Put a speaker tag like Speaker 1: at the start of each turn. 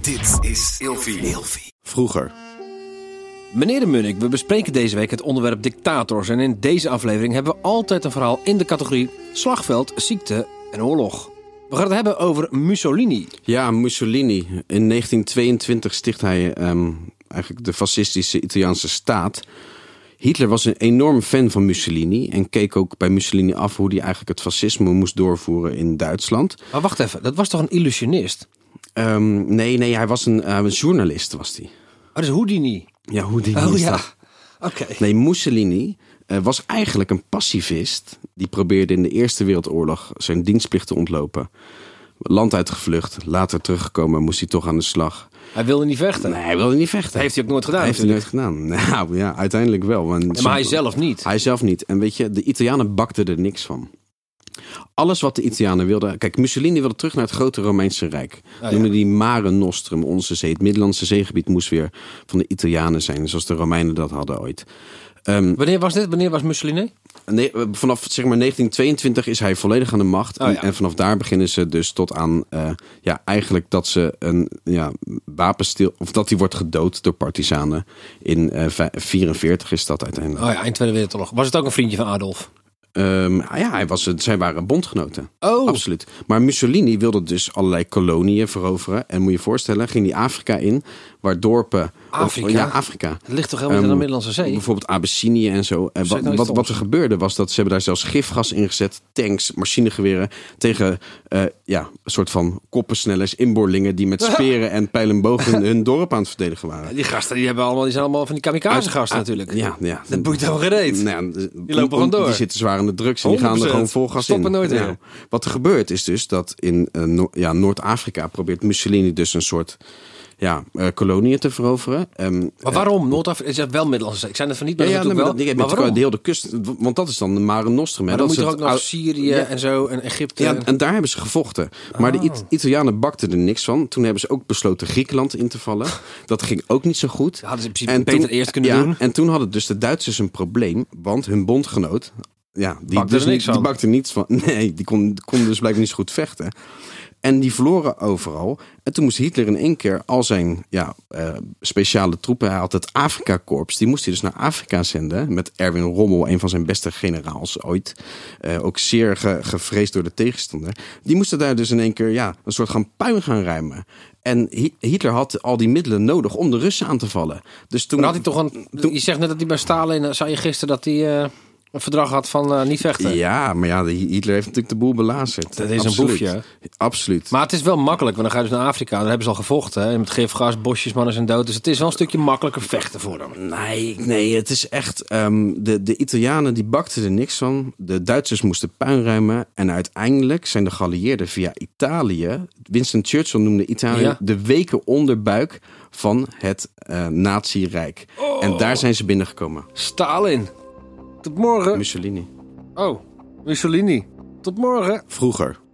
Speaker 1: Dit is Ilfie.
Speaker 2: Vroeger.
Speaker 3: Meneer de Munnik, we bespreken deze week het onderwerp dictators. En in deze aflevering hebben we altijd een verhaal in de categorie slagveld, ziekte en oorlog. We gaan het hebben over Mussolini.
Speaker 2: Ja, Mussolini. In 1922 sticht hij ehm, eigenlijk de fascistische Italiaanse staat. Hitler was een enorm fan van Mussolini en keek ook bij Mussolini af hoe hij eigenlijk het fascisme moest doorvoeren in Duitsland.
Speaker 3: Maar wacht even, dat was toch een illusionist?
Speaker 2: Ehm, nee, nee, hij was een eh, journalist, was hij.
Speaker 3: Oh, dat is Houdini.
Speaker 2: Ja, hoe die
Speaker 3: Oh
Speaker 2: is
Speaker 3: ja,
Speaker 2: dat?
Speaker 3: oké.
Speaker 2: Nee, Mussolini eh, was eigenlijk een pacifist. Die probeerde in de Eerste Wereldoorlog zijn dienstplicht te ontlopen. Land uitgevlucht, later teruggekomen, moest hij toch aan de slag.
Speaker 3: Hij wilde niet vechten.
Speaker 2: Nee, hij wilde niet vechten.
Speaker 3: Heeft hij ook nooit gedaan,
Speaker 2: Heeft hij nooit gedaan. Nou ja, uiteindelijk wel. want
Speaker 3: Ja, maar hij
Speaker 2: soms-
Speaker 3: zelf niet.
Speaker 2: Hij zelf niet. En weet je, de Italianen bakten er niks van. Alles wat de Italianen wilden... Kijk, Mussolini wilde terug naar het grote Romeinse Rijk.
Speaker 3: Ah, ja.
Speaker 2: Noemde die Mare Nostrum, onze zee. Het Middellandse zeegebied moest weer van de Italianen zijn. Zoals de Romeinen dat hadden ooit.
Speaker 3: Wanneer was dit? Wanneer was Mussolini?
Speaker 2: Nee, eh, vanaf zeg maar 1922 is hij volledig aan de macht.
Speaker 3: Oh,
Speaker 2: en,
Speaker 3: ja.
Speaker 2: en vanaf daar beginnen ze dus tot aan eh, ja, eigenlijk dat ze een ja, wapenstil. of dat hij wordt gedood door partisanen. In eh, vij- 44 is dat uiteindelijk.
Speaker 3: Oh ja, eind Tweede Wereldoorlog. Was het ook een vriendje van Adolf?
Speaker 2: Ehm, ah ja, hij was, het- zij waren bondgenoten.
Speaker 3: Oh.
Speaker 2: Absoluut. Maar Mussolini wilde dus allerlei koloniën veroveren. En moet je je voorstellen, ging hij Afrika in, waar dorpen. of-
Speaker 3: Afrika?
Speaker 2: ja, Afrika.
Speaker 3: Het ligt toch helemaal niet
Speaker 2: Ehm,
Speaker 3: aan de Middellandse Zee?
Speaker 2: Bijvoorbeeld Abyssinie en zo. En
Speaker 3: Zeg
Speaker 2: wat,
Speaker 3: nou iets
Speaker 2: wat, wat er
Speaker 3: anders.
Speaker 2: gebeurde was dat ze hebben daar zelfs gifgas ingezet. Tanks, machinegeweren. Tegen eh, ja, een soort van koppensnellers, inboorlingen. Die met speren en pijl en boog hun, hun dorp aan het verdedigen waren.
Speaker 3: Die gasten die hebben allemaal, die zijn allemaal van die kamikaze gasten natuurlijk.
Speaker 2: Ja, ja.
Speaker 3: Oh, ah, Dat boeit helemaal gereed.
Speaker 2: Nou, die
Speaker 3: lopen gewoon door.
Speaker 2: Die zitten zwaar aan de drugs en die gaan er
Speaker 3: 100%.
Speaker 2: gewoon vol gas
Speaker 3: Stoppen
Speaker 2: in.
Speaker 3: nooit
Speaker 2: Ja.
Speaker 3: meer.
Speaker 2: Wat er gebeurt is dus dat in eh, Noor- ja, Noord-Afrika probeert Mussolini dus een soort ja, eh koloniën te veroveren. Ehm,
Speaker 3: Maar waarom? Noord-Afrika is wel Middellandse Zee. Ik zei het van niet, maar
Speaker 2: ja,
Speaker 3: dat
Speaker 2: ja,
Speaker 3: is
Speaker 2: nee, maar
Speaker 3: natuurlijk
Speaker 2: dat- nee,
Speaker 3: wel.
Speaker 2: met
Speaker 3: Maar waarom?
Speaker 2: de hele de kust, want dat is dan de Mare Nostrum. hè.
Speaker 3: Maar dan
Speaker 2: dat
Speaker 3: moet je
Speaker 2: is
Speaker 3: toch ook
Speaker 2: het
Speaker 3: nog
Speaker 2: oude-
Speaker 3: Syrië en zo en Egypte. Oh.
Speaker 2: Ja, en daar hebben ze gevochten. Maar de It- Italianen bakten er niks van. Toen hebben ze ook besloten Griekenland in te vallen. Dat ging ook niet zo goed.
Speaker 3: hadden ze in principe beter eerst kunnen
Speaker 2: ja,
Speaker 3: doen.
Speaker 2: En toen hadden dus de Duitsers een probleem, want hun bondgenoot. Ja, die,
Speaker 3: Bakte
Speaker 2: dus
Speaker 3: er niks
Speaker 2: niet- die
Speaker 3: van.
Speaker 2: bakte niets van. Nee, die kon, kon dus blijkbaar niet zo goed vechten. En die verloren overal. En toen moest Hitler in één keer al zijn ja, eh, speciale troepen. Hij had het Afrika-korps. Die moest hij dus naar Afrika zenden. Met Erwin Rommel, een van zijn beste generaals ooit. Eh, ook zeer ge- gevreesd door de tegenstander. Die moesten daar dus in één keer ja, een soort gaan puin gaan ruimen. En Hi- Hitler had al die middelen nodig om de Russen aan te vallen. Dus toen
Speaker 3: Maar had hij toch een. Je zegt net dat hij bij Stalin. eh, zei je gisteren dat hij eh, een verdrag had van eh, niet vechten.
Speaker 2: Ja, maar ja, de- Hitler heeft natuurlijk de boel belazerd.
Speaker 3: Dat is een
Speaker 2: Absoluut.
Speaker 3: boefje.
Speaker 2: Absoluut.
Speaker 3: Maar het is wel makkelijk, want dan ga je dus naar Afrika. Daar hebben ze al gevochten. Hè? Met gifgas, bosjes, mannen zijn dood. Dus het is wel een stukje makkelijker vechten voor hem.
Speaker 2: Nee, nee, het is echt. ehm, de, de Italianen die bakten er niks van. De Duitsers moesten puin ruimen. En uiteindelijk zijn de geallieerden via Italië. Winston Churchill noemde Italië
Speaker 3: Ja.
Speaker 2: de weken onderbuik van het eh Nazi-rijk. En daar zijn ze binnengekomen.
Speaker 3: Stalin. Tot morgen.
Speaker 2: Mussolini.
Speaker 3: Oh, Mussolini. Tot morgen.
Speaker 2: Vroeger.